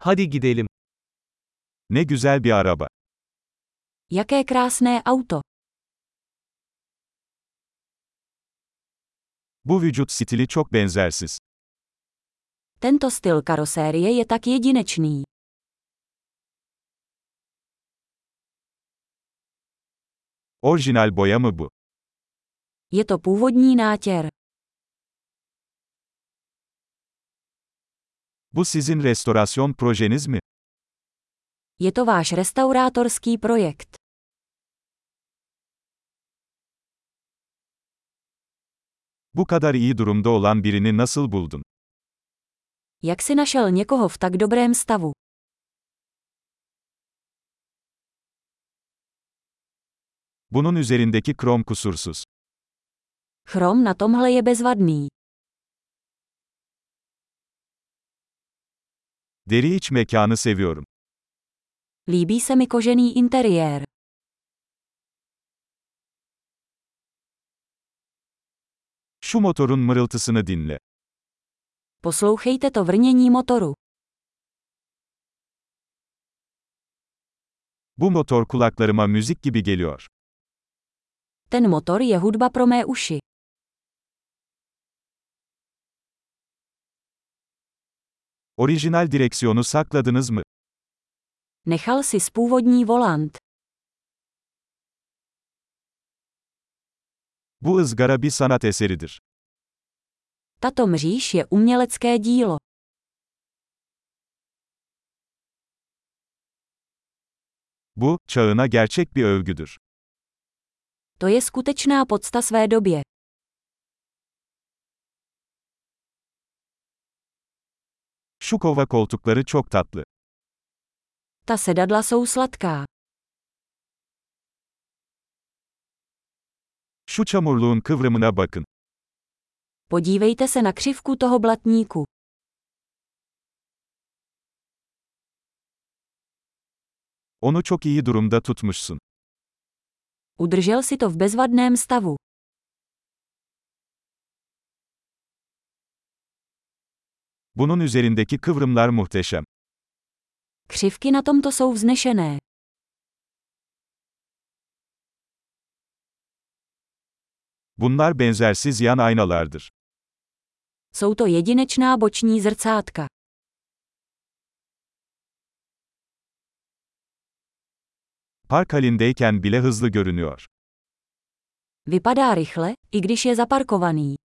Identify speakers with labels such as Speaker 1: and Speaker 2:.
Speaker 1: Hadi gidelim. Ne güzel bir araba.
Speaker 2: Jaké krásné auto.
Speaker 1: Bu vücut stili çok benzersiz.
Speaker 2: Tento styl karosérie je tak jedinečný.
Speaker 1: Orijinal boya mı bu?
Speaker 2: Je to původní nátěr.
Speaker 1: Bu sizin restorasyon projeniz mi?
Speaker 2: Je to váš restaurátorský projekt.
Speaker 1: Bu kadar iyi durumda olan birini nasıl buldun?
Speaker 2: Jak si našel někoho v tak dobrém stavu?
Speaker 1: Bunun üzerindeki krom kusursuz.
Speaker 2: Chrom na tomhle je bezvadný.
Speaker 1: Deri iç mekanı seviyorum.
Speaker 2: Líbí se mi kožený interiér.
Speaker 1: Şu motorun mırıltısını dinle.
Speaker 2: Poslouchejte to vrnění motoru.
Speaker 1: Bu motor kulaklarıma müzik gibi geliyor.
Speaker 2: Ten motor je hudba pro mé uši.
Speaker 1: Orijinal direksiyonu sakladınız mı?
Speaker 2: Nechal si spůvodní volant.
Speaker 1: Bu ızgara bir sanat eseridir.
Speaker 2: Tato mříž je umělecké dílo.
Speaker 1: Bu, çağına gerçek bir övgüdür.
Speaker 2: To je skutečná podsta své době.
Speaker 1: Şu kova koltukları çok tatlı.
Speaker 2: Ta sedadla jsou sladká.
Speaker 1: Şu çamurluğun kıvrımına bakın.
Speaker 2: Podívejte se na křivku toho blatníku.
Speaker 1: Onu çok iyi durumda tutmuşsun.
Speaker 2: Udržel si to v bezvadném stavu.
Speaker 1: Bunun üzerindeki kıvrımlar muhteşem.
Speaker 2: Křivky na tomto jsou vznešené.
Speaker 1: Bunlar benzersiz yan aynalardır.
Speaker 2: Jsou to jedinečná boční zrcátka.
Speaker 1: Park halindeyken bile hızlı görünüyor.
Speaker 2: Vypadá rychle, i když je zaparkovaný.